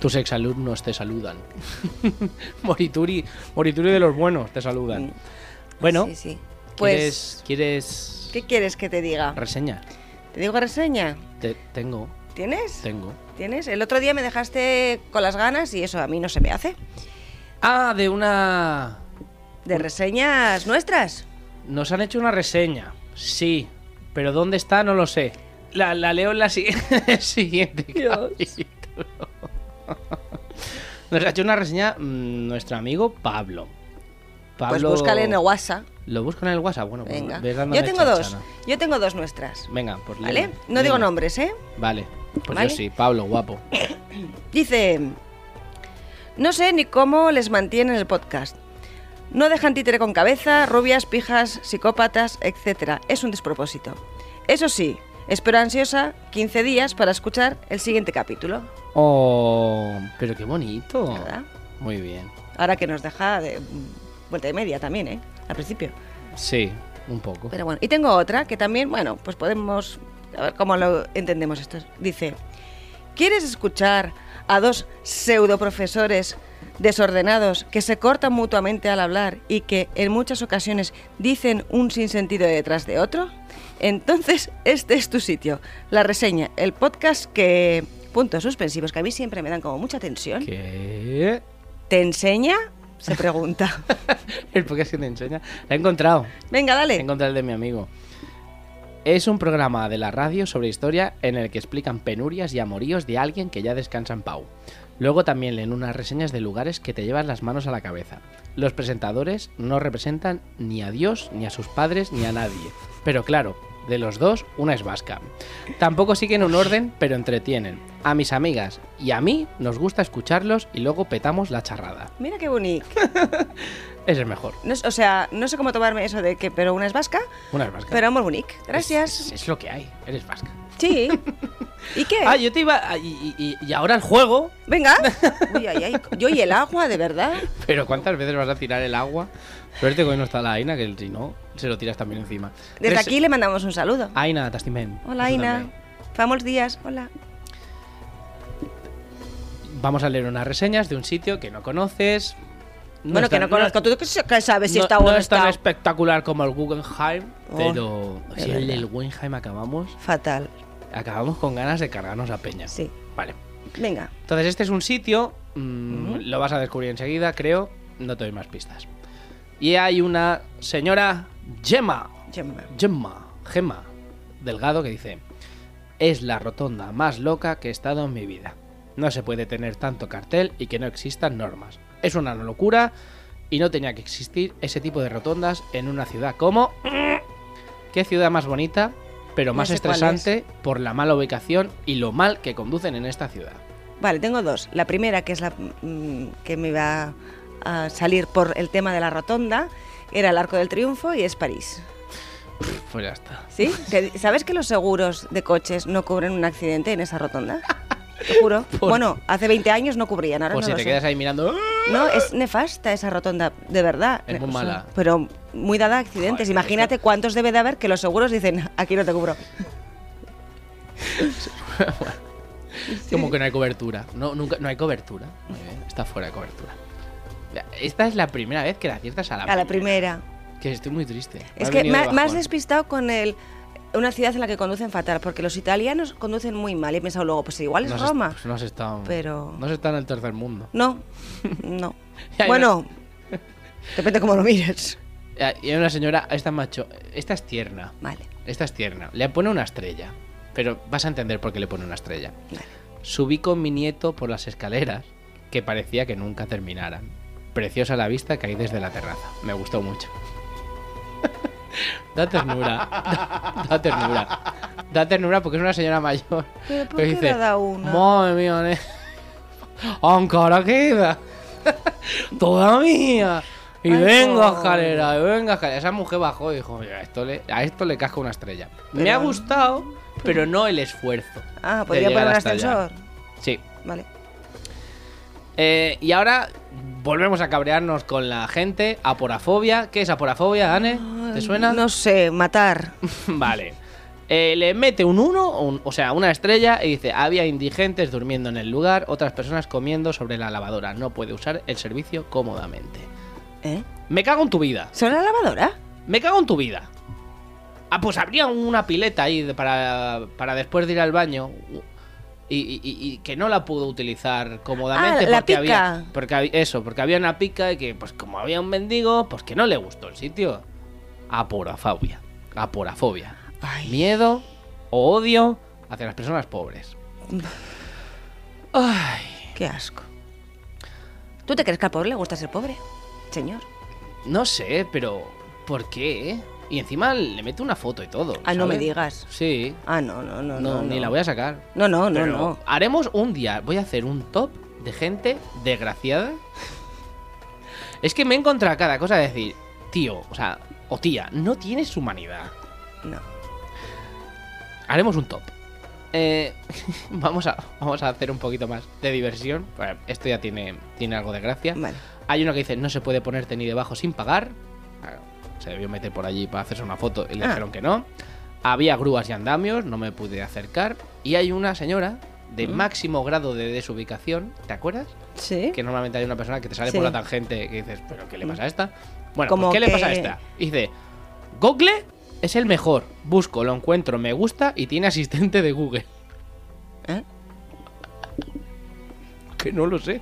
Speaker 2: Tus exalumnos te saludan. Morituri, Morituri de los buenos te saludan. Bueno,
Speaker 3: Sí, sí.
Speaker 2: ¿quieres,
Speaker 3: Pues,
Speaker 2: ¿quieres
Speaker 3: ¿qué quieres que te diga?
Speaker 2: reseña?
Speaker 3: ¿Te digo reseña?
Speaker 2: Te- tengo,
Speaker 3: ¿Tienes?
Speaker 2: tengo.
Speaker 3: ¿Tienes? El otro día me dejaste con las ganas y eso a mí no se me hace.
Speaker 2: Ah, de una...
Speaker 3: ¿De reseñas nuestras?
Speaker 2: Nos han hecho una reseña. Sí, pero ¿dónde está? No lo sé. La, la leo en la si- el siguiente capítulo. Nos ha hecho una reseña mm, nuestro amigo Pablo.
Speaker 3: Pues
Speaker 2: Pablo...
Speaker 3: búscale en el WhatsApp.
Speaker 2: Lo busco en el WhatsApp. Bueno, pues
Speaker 3: Venga.
Speaker 2: ves dándome
Speaker 3: Yo tengo dos.
Speaker 2: chanchana.
Speaker 3: Yo tengo dos nuestras.
Speaker 2: Venga, pues
Speaker 3: ¿Vale?
Speaker 2: léelo.
Speaker 3: No digo
Speaker 2: Venga.
Speaker 3: nombres, ¿eh?
Speaker 2: Vale. Pues
Speaker 3: ¿Vale?
Speaker 2: yo sí, Pablo, guapo.
Speaker 3: Dice, no sé ni cómo les mantienen el podcast. No dejan títere con cabeza, rubias, pijas, psicópatas, etc. Es un despropósito. Eso sí, espero ansiosa 15 días para escuchar el siguiente capítulo.
Speaker 2: Oh, pero qué bonito.
Speaker 3: ¿Verdad?
Speaker 2: Muy bien.
Speaker 3: Ahora que nos deja de mm, vuelta y media también, ¿eh? Al principio.
Speaker 2: Sí, un poco.
Speaker 3: Pero bueno, y tengo otra que también, bueno, pues podemos, a ver cómo lo entendemos esto. Dice, ¿quieres escuchar a dos pseudoprofesores desordenados que se cortan mutuamente al hablar y que en muchas ocasiones dicen un sinsentido detrás de otro? Entonces, este es tu sitio. La reseña, el podcast que... Puntos suspensivos que a mí siempre me dan como mucha tensión.
Speaker 2: ¿Qué?
Speaker 3: ¿Te enseña? Se pregunta.
Speaker 2: El podcast que te enseña. La he encontrado.
Speaker 3: Venga,
Speaker 2: He
Speaker 3: dale.
Speaker 2: encontrado el de mi amigo. Es un programa de la radio sobre historia en el que explican penurias y amoríos de alguien que ya descansa en Pau. Luego también leen unas reseñas de lugares que te llevan las manos a la cabeza. Los presentadores no representan ni a Dios, ni a sus padres, ni a nadie. Pero claro, de los dos, una es vasca. Tampoco siguen un orden, pero entretienen. A mis amigas y a mí nos gusta escucharlos y luego petamos la charrada.
Speaker 3: Mira qué bonito.
Speaker 2: Es el mejor.
Speaker 3: No es- o sea, no sé cómo tomarme eso de que, pero una es vasca,
Speaker 2: Una es vasca.
Speaker 3: pero muy bonic. Gracias.
Speaker 2: Es, es- es lo que hay. Eres vasca.
Speaker 3: Sí. ¿Y qué?
Speaker 2: Ah, yo te iba. a- y, y- y- y ahora el juego.
Speaker 3: Venga. Uy, ay, ay. Yo y el agua, de verdad.
Speaker 2: Pero ¿cuántas veces vas a tirar el agua? Suerte que hoy no está la Aina, que si no, se lo tiras también encima. Res-
Speaker 3: Desde
Speaker 2: Ah, pues
Speaker 3: aquí le mandamos un saludo.
Speaker 2: Aina, Tastimen.
Speaker 3: Hola, Aina. Famosos días. Hola.
Speaker 2: Vamos a leer unas reseñas de un sitio que no conoces.
Speaker 3: bueno,
Speaker 2: es tan-
Speaker 3: que no conozco. ¿Tú qué sa- qué sabes si
Speaker 2: no-
Speaker 3: está o no,
Speaker 2: no es tan
Speaker 3: está?
Speaker 2: espectacular como el Guggenheim,
Speaker 3: Oh,
Speaker 2: pero
Speaker 3: es
Speaker 2: si el
Speaker 3: verdad.
Speaker 2: del Guggenheim acabamos,
Speaker 3: Fatal.
Speaker 2: acabamos con ganas de cargarnos a Peña.
Speaker 3: Sí.
Speaker 2: Vale.
Speaker 3: Venga.
Speaker 2: Entonces, este es un sitio, mm, lo vas a descubrir enseguida, creo, no te doy más pistas. Y hay una señora Gemma,
Speaker 3: Gemma.
Speaker 2: Gemma, Gemma, Delgado, que dice, es la rotonda más loca que he estado en mi vida. No se puede tener tanto cartel y que no existan normas. Es una locura y no tenía que existir ese tipo de rotondas en una ciudad como... ¿Qué ciudad más bonita, pero
Speaker 3: Ya
Speaker 2: más
Speaker 3: sé cuál es.
Speaker 2: estresante por la mala ubicación y lo mal que conducen en esta ciudad?
Speaker 3: Vale, tengo dos. La primera, que es la mm, que me va a salir por el tema de la rotonda, era el Arco del Triunfo y es París.
Speaker 2: Pues ya está.
Speaker 3: ¿Sí? ¿Te- ¿Sabes que los seguros de coches no cubren un accidente en esa rotonda? Te juro.
Speaker 2: Por-
Speaker 3: Bueno, hace 20 años no cubrían, ahora
Speaker 2: Por Pues
Speaker 3: no
Speaker 2: si
Speaker 3: lo
Speaker 2: te
Speaker 3: sé.
Speaker 2: quedas ahí mirando. ¡ah!
Speaker 3: No, es nefasta esa rotonda, de verdad.
Speaker 2: Es muy
Speaker 3: O sea,
Speaker 2: mala.
Speaker 3: Pero muy dada a accidentes.
Speaker 2: Joder,
Speaker 3: Imagínate cuántos debe de haber que los seguros dicen, aquí no te cubro.
Speaker 2: Como que no hay cobertura. No, nunca, no hay cobertura. Muy bien, está fuera de cobertura. Ya, Esta es la primera vez que la aciertas a la,
Speaker 3: A la primera.
Speaker 2: Que estoy muy triste. Me
Speaker 3: Es
Speaker 2: has
Speaker 3: que
Speaker 2: venido
Speaker 3: me,
Speaker 2: de
Speaker 3: ha- me has
Speaker 2: bajón.
Speaker 3: despistado con el... Una ciudad en la que conducen fatal, porque los italianos conducen muy mal. Y he pensado luego, pues igual es
Speaker 2: No has est-
Speaker 3: Roma.
Speaker 2: pues no has estado.
Speaker 3: pero-
Speaker 2: No has estado en el tercer mundo.
Speaker 3: No, no.
Speaker 2: Ya, ya.
Speaker 3: bueno, depende cómo lo mires.
Speaker 2: Ya, Y hay una señora, esta macho. Esta es tierna.
Speaker 3: Vale.
Speaker 2: Esta es tierna. Le pone una estrella. Pero vas a entender por qué le pone una estrella.
Speaker 3: Vale.
Speaker 2: Subí con mi nieto por las escaleras, que parecía que nunca terminaran. Preciosa la vista que hay desde la terraza. Me gustó mucho. Da ternura, da, da ternura. Da ternura porque es una señora mayor.
Speaker 3: Pero ¿por
Speaker 2: que
Speaker 3: qué le da una?
Speaker 2: Madre mía, ne... encara queda. Todavía. Y Y
Speaker 3: Ay,
Speaker 2: venga
Speaker 3: por-
Speaker 2: escalera, y venga escalera. Esa mujer bajó y dijo, "Mira, esto le- a esto le casca una estrella. Me
Speaker 3: Pero-
Speaker 2: ha gustado, pero no el esfuerzo.
Speaker 3: Ah,
Speaker 2: de
Speaker 3: podría
Speaker 2: llegar
Speaker 3: poner el
Speaker 2: hasta allá".
Speaker 3: ascensor.
Speaker 2: Sí.
Speaker 3: Vale.
Speaker 2: Eh, y ahora volvemos a cabrearnos con la gente. Aporafobia. ¿Qué es aporafobia, Ane? ¿Te suena?
Speaker 3: No sé, matar.
Speaker 2: Vale. Eh, le mete un 1, o sea, una estrella, y dice, había indigentes durmiendo en el lugar, otras personas comiendo sobre la lavadora. No puede usar el servicio cómodamente.
Speaker 3: ¿Eh?
Speaker 2: Me cago en tu vida.
Speaker 3: ¿Sobre la lavadora?
Speaker 2: Me cago en tu vida. Ah, pues habría una pileta ahí de- para, para después de ir al baño. Y, y- y- y que no la pudo utilizar cómodamente
Speaker 3: Ah, la
Speaker 2: porque había.
Speaker 3: pica.
Speaker 2: Porque había- eso, porque había una pica y que, pues como había un mendigo, pues que no le gustó el sitio. Aporafobia. Aporafobia.
Speaker 3: Ay.
Speaker 2: Miedo o odio hacia las personas pobres. Ay.
Speaker 3: Qué asco. ¿Tú te crees que al pobre le gusta ser pobre? Señor.
Speaker 2: No sé, pero. ¿Por qué? Y encima le meto una foto y todo.
Speaker 3: Ah, no me
Speaker 2: ¿sabes?
Speaker 3: digas.
Speaker 2: Sí.
Speaker 3: Ah, no, no, no.
Speaker 2: No,
Speaker 3: No,
Speaker 2: ni
Speaker 3: no.
Speaker 2: la voy a sacar.
Speaker 3: No, no, no,
Speaker 2: Pero
Speaker 3: no.
Speaker 2: Haremos un día. Voy a hacer un top de gente desgraciada. Es que me he encontrado cada cosa de decir, tío, o sea, o tía, no tienes humanidad.
Speaker 3: No.
Speaker 2: Haremos un top. Eh, vamos, a, vamos a hacer un poquito más de diversión. Bueno, Esto ya tiene, tiene algo de gracia.
Speaker 3: Vale.
Speaker 2: Hay uno que dice, no se puede ponerte ni debajo sin pagar. Claro, se debió meter por allí para hacerse una foto y le
Speaker 3: Ah.
Speaker 2: dijeron que no. Había grúas y andamios, no me pude acercar. Y hay una señora de máximo grado de desubicación, ¿te acuerdas?
Speaker 3: Sí.
Speaker 2: Que normalmente hay una persona que te sale
Speaker 3: Sí. Mm.
Speaker 2: por la tangente que dices, ¿pero qué le pasa a esta? Bueno,
Speaker 3: Como
Speaker 2: pues, ¿qué le pasa a
Speaker 3: que-
Speaker 2: esta? Y dice, Google es el mejor. Busco, lo encuentro, me gusta y tiene asistente de Google.
Speaker 3: ¿Eh?
Speaker 2: Que no lo sé.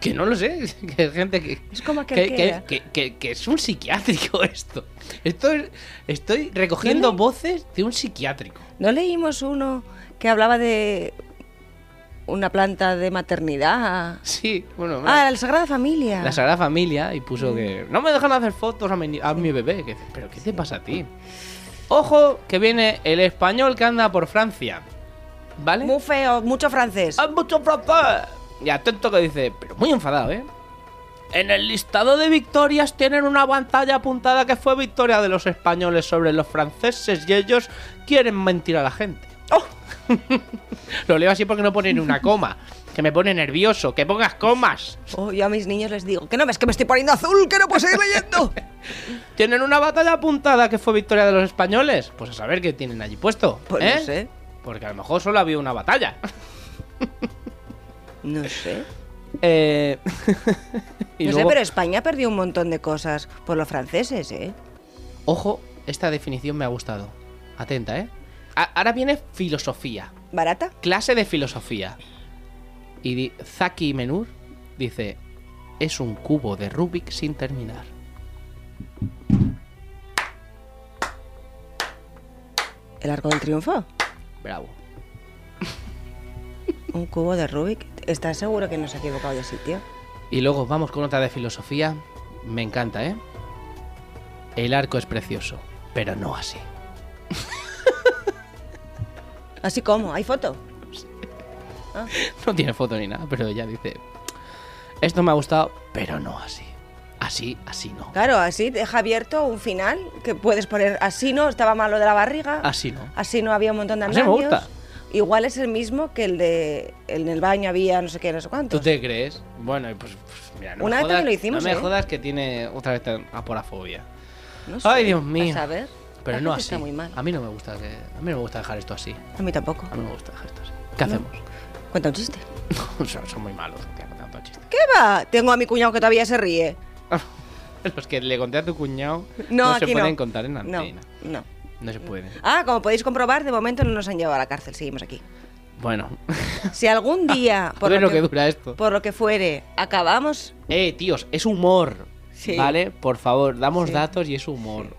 Speaker 2: Que no lo sé. Que hay gente que,
Speaker 3: Es como aquel
Speaker 2: que,
Speaker 3: que
Speaker 2: que-
Speaker 3: era.
Speaker 2: que- que- que es un psiquiátrico esto. Esto es- estoy recogiendo voces de un psiquiátrico.
Speaker 3: ¿No leímos uno que hablaba de una planta de maternidad?
Speaker 2: Sí, bueno. bueno,
Speaker 3: Ah, la Sagrada Familia.
Speaker 2: La Sagrada Familia y puso que no me dejan hacer fotos a mi, a mi bebé. Que dice, Pero ¿qué te pasa a ti? Ojo, que viene el español que anda por Francia. ¿Vale?
Speaker 3: Muy feo, mucho francés.
Speaker 2: ¡Hay mucho francés! Y atento que dice, pero muy enfadado, ¿eh? En el listado de victorias tienen una pantalla apuntada que fue victoria de los españoles sobre los franceses y ellos quieren mentir a la gente. ¡Oh! Lo leo así porque no ponen una coma. Que me pone nervioso. Que pongas comas.
Speaker 3: Oh, yo a mis niños les digo, que no ves que me estoy poniendo azul, que no puedo seguir leyendo.
Speaker 2: ¿Tienen una batalla apuntada que fue victoria de los españoles? Pues a saber qué tienen allí puesto.
Speaker 3: Pues
Speaker 2: ¿eh?
Speaker 3: no sé,
Speaker 2: Porque a lo mejor solo había una batalla.
Speaker 3: no sé.
Speaker 2: Eh... y
Speaker 3: no
Speaker 2: luego-
Speaker 3: sé, pero España perdió un montón de cosas por los franceses, ¿eh?
Speaker 2: Ojo, esta definición me ha gustado. Atenta, ¿eh? A- ahora viene filosofía.
Speaker 3: ¿Barata?
Speaker 2: Clase de filosofía. Y di- Zaki Menur dice: Es un cubo de Rubik sin terminar.
Speaker 3: ¿El arco del triunfo?
Speaker 2: Bravo.
Speaker 3: ¿Un cubo de Rubik? ¿Estás seguro que no se ha equivocado de sitio?
Speaker 2: Y luego vamos con otra de filosofía. Me encanta, ¿eh? El arco es precioso, pero no así.
Speaker 3: Así como, ¿hay foto?
Speaker 2: No tiene foto ni nada, pero ella dice: Esto me ha gustado, pero no así. Así, así no.
Speaker 3: Claro, así deja abierto un final que puedes poner así no, estaba malo de la barriga.
Speaker 2: Así no.
Speaker 3: Así no había un montón de
Speaker 2: Así me
Speaker 3: andamios.
Speaker 2: gusta.
Speaker 3: Igual es el mismo que el de en el baño había no sé qué, no sé cuánto.
Speaker 2: ¿Tú te crees? Bueno, y pues, pues, mira, no
Speaker 3: Una
Speaker 2: me
Speaker 3: vez
Speaker 2: jodas,
Speaker 3: también lo hicimos,
Speaker 2: No me
Speaker 3: ¿eh?
Speaker 2: jodas que tiene otra vez tan- aporafobia.
Speaker 3: No sé,
Speaker 2: Ay, Dios
Speaker 3: a
Speaker 2: mío.
Speaker 3: saber.
Speaker 2: Pero
Speaker 3: La
Speaker 2: no
Speaker 3: gente
Speaker 2: así.
Speaker 3: Está muy mal.
Speaker 2: A mí no me gusta que a mí no me gusta dejar esto así.
Speaker 3: A mí tampoco.
Speaker 2: A mí no me gusta dejar esto así. ¿Qué hacemos?
Speaker 3: Cuenta un chiste.
Speaker 2: son, son muy malos, tío, con tanto chiste.
Speaker 3: ¿Qué va? Tengo a mi cuñado que todavía se ríe.
Speaker 2: Los que le conté a tu cuñado
Speaker 3: No,
Speaker 2: no se
Speaker 3: aquí
Speaker 2: pueden
Speaker 3: no.
Speaker 2: contar en
Speaker 3: No,
Speaker 2: antena.
Speaker 3: no.
Speaker 2: No, se pueden.
Speaker 3: Ah, como podéis comprobar, de momento no nos han llevado a la cárcel, seguimos aquí.
Speaker 2: Bueno,
Speaker 3: Si algún día, por,
Speaker 2: Joder,
Speaker 3: lo
Speaker 2: Ah, lo que dura esto.
Speaker 3: por lo que fuere, acabamos,
Speaker 2: eh, tíos, es humor.
Speaker 3: Sí.
Speaker 2: ¿Vale? Por favor, damos datos y es humor.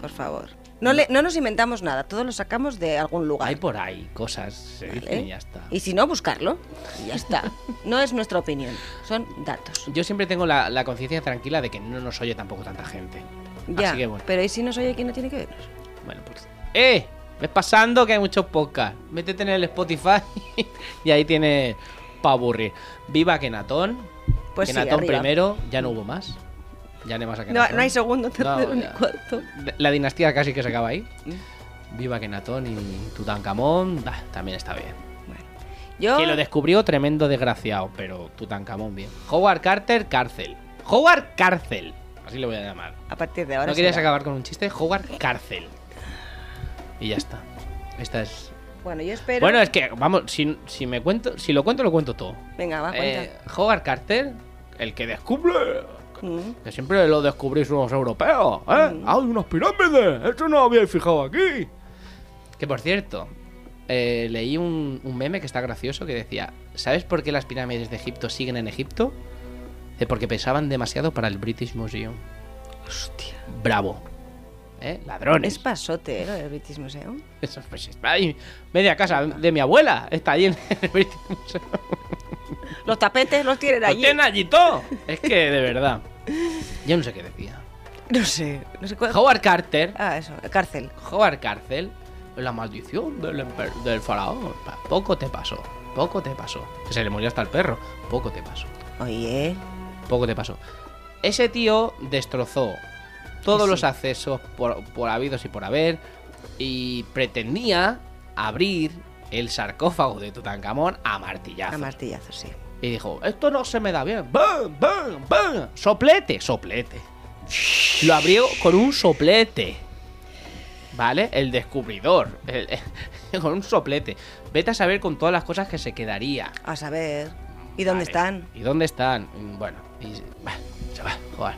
Speaker 3: por favor. No, le, no nos inventamos nada, todo lo sacamos de algún lugar.
Speaker 2: Hay por ahí cosas, se dicen
Speaker 3: ¿eh?
Speaker 2: y ya está.
Speaker 3: Y si no, buscarlo. Y ya está. No es nuestra opinión, son datos.
Speaker 2: Yo siempre tengo la, la conciencia tranquila de que no nos oye tampoco tanta gente.
Speaker 3: Ya,
Speaker 2: Así que bueno.
Speaker 3: pero ¿y si nos oye quién no tiene que vernos?
Speaker 2: Bueno, pues. ¡Eh! Ves pasando que hay muchos podcasts. Métete en el Spotify y ahí tienes para aburrir. Viva Kenatón.
Speaker 3: Pues sí,
Speaker 2: Kenatón
Speaker 3: arriba.
Speaker 2: primero, ya no hubo más. Ya no hay más a
Speaker 3: No,
Speaker 2: Kenatón.
Speaker 3: no hay segundo, tercero
Speaker 2: No,
Speaker 3: ni
Speaker 2: ya.
Speaker 3: cuarto.
Speaker 2: La dinastía casi que se acaba ahí.
Speaker 3: Mm.
Speaker 2: Viva Kenatón y Tutankamón. bah, también está bien.
Speaker 3: Yo,
Speaker 2: Que lo descubrió tremendo desgraciado, pero Tutankamón bien. Howard Carter, cárcel. Howard Cárcel. Así lo voy a llamar.
Speaker 3: a partir de ahora.
Speaker 2: no querías
Speaker 3: será.
Speaker 2: acabar con un chiste. Howard Cárcel. Y ya está. Esta es.
Speaker 3: Bueno, yo espero.
Speaker 2: Bueno, es que, vamos, si, si me cuento, si lo cuento, lo cuento todo.
Speaker 3: Venga, va, Ah, cuenta.
Speaker 2: Eh, Howard Carter, el que descubre
Speaker 3: Mm.
Speaker 2: que siempre lo descubrís unos europeos, ¿eh? ¡Hay unas pirámides! ¡Esto no lo habíais fijado aquí! Que por cierto, eh, leí un, un meme que está gracioso que decía: ¿Sabes por qué las pirámides de Egipto siguen en Egipto? Dice, porque pesaban demasiado para el British Museum.
Speaker 3: Hostia.
Speaker 2: ¡Bravo! ¿Eh? ¡Ladrones!
Speaker 3: Es pasote, ¿eh? Lo del British Museum.
Speaker 2: Eso, pues, está ahí. media casa de mi abuela está allí en el British Museum.
Speaker 3: Los tapetes los tienen
Speaker 2: ¡Lo
Speaker 3: allí.
Speaker 2: tiene allí todo! Es que, de verdad. Yo no sé qué decía.
Speaker 3: No sé, no sé cuál.
Speaker 2: Howard Carter
Speaker 3: Ah, eso, cárcel.
Speaker 2: Howard Cárcel, la maldición del, emper- del faraón. Pa- Poco te pasó, poco te pasó. Que se le murió hasta el perro, poco te pasó,
Speaker 3: Oye,
Speaker 2: poco te pasó. Ese tío destrozó todos
Speaker 3: Sí.
Speaker 2: los accesos por, por habidos y por haber y pretendía abrir el sarcófago de Tutankamón a
Speaker 3: a
Speaker 2: martillazos.
Speaker 3: martillazos, sí.
Speaker 2: y dijo, esto no se me da bien. ¡Bam, bam, bam! ¡Soplete, soplete! Lo abrió con un soplete. ¿Vale? El descubridor. El- con un soplete. Vete a saber con todas las cosas que se quedaría.
Speaker 3: A saber. ¿Y dónde
Speaker 2: Vale.
Speaker 3: están?
Speaker 2: ¿Y dónde están? Mm, Bueno, y, bah, se va, joder.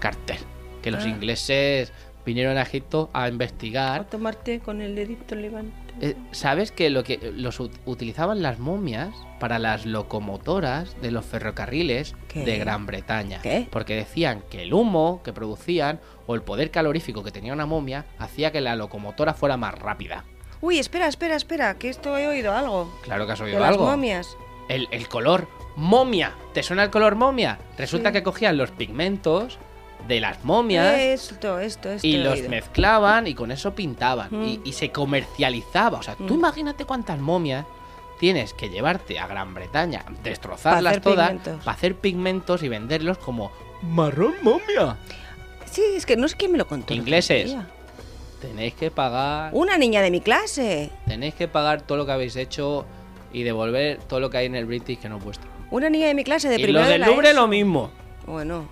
Speaker 2: Cartel. Que
Speaker 3: Ah.
Speaker 2: los ingleses vinieron a Egipto a investigar.
Speaker 3: tomarte con el dedito levante.
Speaker 2: Eh, ¿Sabes que lo que los ut- utilizaban las momias para las locomotoras de los ferrocarriles
Speaker 3: ¿Qué?
Speaker 2: de Gran Bretaña?
Speaker 3: ¿Qué?
Speaker 2: Porque decían que el humo que producían o el poder calorífico que tenía una momia hacía que la locomotora fuera más rápida.
Speaker 3: Uy, espera, espera, espera, que esto he oído algo.
Speaker 2: Claro que has
Speaker 3: De
Speaker 2: oído
Speaker 3: las
Speaker 2: algo.
Speaker 3: momias.
Speaker 2: El, el color momia. ¿Te suena el color momia? Resulta que cogían los pigmentos de las momias
Speaker 3: Esto, esto, Eh, esto.
Speaker 2: y
Speaker 3: he
Speaker 2: los
Speaker 3: oído.
Speaker 2: mezclaban y con eso pintaban
Speaker 3: Mm.
Speaker 2: y, y se comercializaba. O sea, tú
Speaker 3: Mm.
Speaker 2: imagínate cuántas momias tienes que llevarte a Gran Bretaña, destrozarlas
Speaker 3: Pa' hacer
Speaker 2: todas,
Speaker 3: pigmentos.
Speaker 2: para hacer pigmentos y venderlos como marrón momia.
Speaker 3: Sí, es que no es que me lo contó. el otro
Speaker 2: Ingleses.
Speaker 3: día.
Speaker 2: Tenéis que pagar,
Speaker 3: Una niña de mi clase.
Speaker 2: tenéis que pagar todo lo que habéis hecho y devolver todo lo que hay en el British que no es vuestro.
Speaker 3: Una niña de mi clase de
Speaker 2: y los
Speaker 3: primero de
Speaker 2: del
Speaker 3: la
Speaker 2: Louvre
Speaker 3: ESO.
Speaker 2: lo mismo.
Speaker 3: Bueno.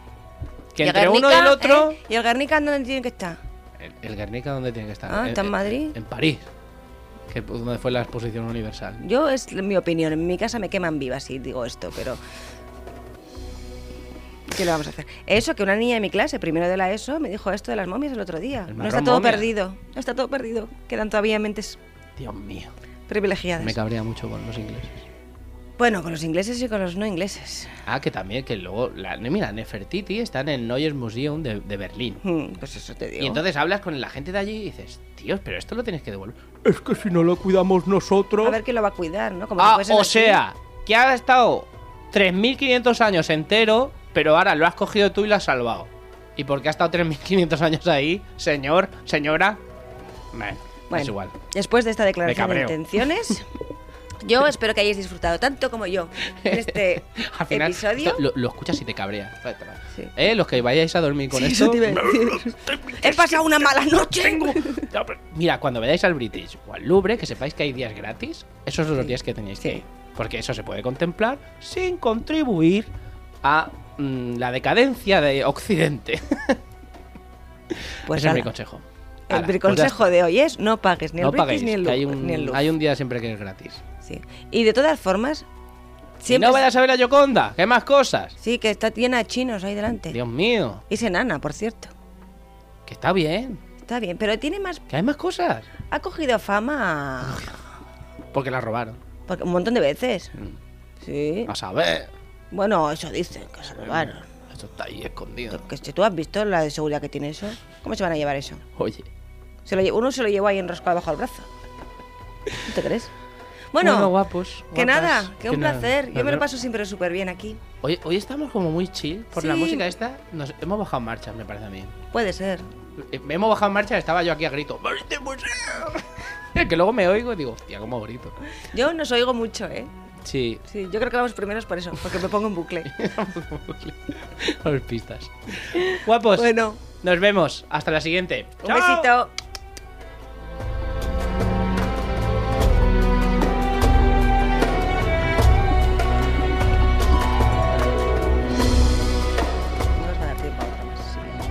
Speaker 2: Que
Speaker 3: ¿Y el
Speaker 2: entre uno y el
Speaker 3: Guernica,
Speaker 2: otro.
Speaker 3: eh? ¿Y el Guernica dónde tiene que estar?
Speaker 2: El, el Guernica dónde tiene que estar?
Speaker 3: Ah, ¿está en Madrid?
Speaker 2: En París. Que donde fue la exposición universal.
Speaker 3: Yo, es mi opinión, en mi casa me queman viva si digo esto, pero... ¿Qué le vamos a hacer? Eso, que una niña de mi clase, primero de la ESO, me dijo esto de las momias el otro día.
Speaker 2: El
Speaker 3: No está
Speaker 2: marrón
Speaker 3: todo
Speaker 2: momia.
Speaker 3: perdido, no está todo perdido. Quedan todavía mentes
Speaker 2: Dios mío.
Speaker 3: privilegiadas.
Speaker 2: Me cabría mucho con los ingleses.
Speaker 3: Bueno, con los ingleses y con los no ingleses.
Speaker 2: Ah, que también, que luego. La, ne- mira, Nefertiti está en el Neues Museum de, de Berlín.
Speaker 3: Mm, Pues eso te digo.
Speaker 2: Y entonces hablas con la gente de allí y dices, tíos, pero esto lo tienes que devolver.
Speaker 4: Es que si no lo cuidamos nosotros.
Speaker 3: A ver quién lo va a cuidar, ¿no? Como si
Speaker 2: Ah,
Speaker 3: fuesen
Speaker 2: o
Speaker 3: aquí.
Speaker 2: sea, que ha estado 3.500 años entero, pero ahora lo has cogido tú y lo has salvado. ¿Y porque ha estado 3.500 años ahí, señor, señora? Bueno,
Speaker 3: Bueno,
Speaker 2: es igual.
Speaker 3: Después de esta declaración de
Speaker 2: cabreo.
Speaker 3: intenciones, yo espero que hayáis disfrutado tanto como yo en este
Speaker 2: Al final,
Speaker 3: episodio.
Speaker 2: esto lo, lo escuchas y te cabrea.
Speaker 3: Sí.
Speaker 2: Eh, los que vayáis a dormir con
Speaker 3: Sí,
Speaker 2: esto.
Speaker 3: eso te iba a decir. He pasado una mala noche.
Speaker 2: Mira, cuando vayáis al British o al Louvre, que sepáis que hay días gratis, esos son los días que tenéis que
Speaker 3: Sí.
Speaker 2: ir. Porque eso se puede contemplar sin contribuir a mm, la decadencia de Occidente.
Speaker 3: Pues
Speaker 2: Ese es mi
Speaker 3: ala,
Speaker 2: consejo.
Speaker 3: el
Speaker 2: Ala, pues ya
Speaker 3: consejo de hoy es no pagues
Speaker 2: está.
Speaker 3: ni el
Speaker 2: no
Speaker 3: British
Speaker 2: paguéis,
Speaker 3: ni el
Speaker 2: que hay
Speaker 3: Louvre,
Speaker 2: un,
Speaker 3: ni el Louvre.
Speaker 2: hay un día siempre que es gratis.
Speaker 3: Sí. Y de todas formas,
Speaker 2: Si
Speaker 3: siempre
Speaker 2: no vayas a ver la Yoconda, que hay más cosas.
Speaker 3: pues- sí que está llena de chinos ahí delante.
Speaker 2: Dios mío,
Speaker 3: Es enana, por cierto.
Speaker 2: que está bien,
Speaker 3: Está bien, pero tiene más
Speaker 2: que hay más cosas.
Speaker 3: ha cogido fama
Speaker 2: Porque la robaron.
Speaker 3: porque un montón de veces.
Speaker 2: Mm.
Speaker 3: Sí.
Speaker 2: A saber,
Speaker 3: Bueno, eso dicen que se robaron.
Speaker 2: esto está ahí escondido.
Speaker 3: Que si tú has visto la de seguridad que tiene eso, ¿cómo se van a llevar eso?
Speaker 2: Oye,
Speaker 3: Se lo lle- uno se lo llevó ahí enroscado bajo el brazo. ¿No te crees? Bueno,
Speaker 2: bueno, guapos.
Speaker 3: que
Speaker 2: guapas,
Speaker 3: nada, que un
Speaker 2: nada.
Speaker 3: placer. Yo me
Speaker 2: Nos
Speaker 3: lo paso siempre súper bien aquí.
Speaker 2: Hoy, hoy estamos como muy chill. Por la
Speaker 3: Sí.
Speaker 2: música esta, nos hemos bajado marchas, me parece a mí.
Speaker 3: Puede ser.
Speaker 2: Eh, Hemos bajado marchas, estaba yo aquí a grito. pues "Vete, museo". que luego me oigo y digo, hostia, cómo grito.
Speaker 3: Yo no os oigo mucho, ¿eh?
Speaker 2: Sí.
Speaker 3: Sí, yo creo que vamos primeros por eso, porque me pongo en bucle.
Speaker 2: Los pistas. Guapos.
Speaker 3: Bueno,
Speaker 2: Nos vemos. Hasta la siguiente.
Speaker 3: un
Speaker 2: Pues, ¡Chao!
Speaker 3: besito. No nos va a dar tiempo a otra más, así que-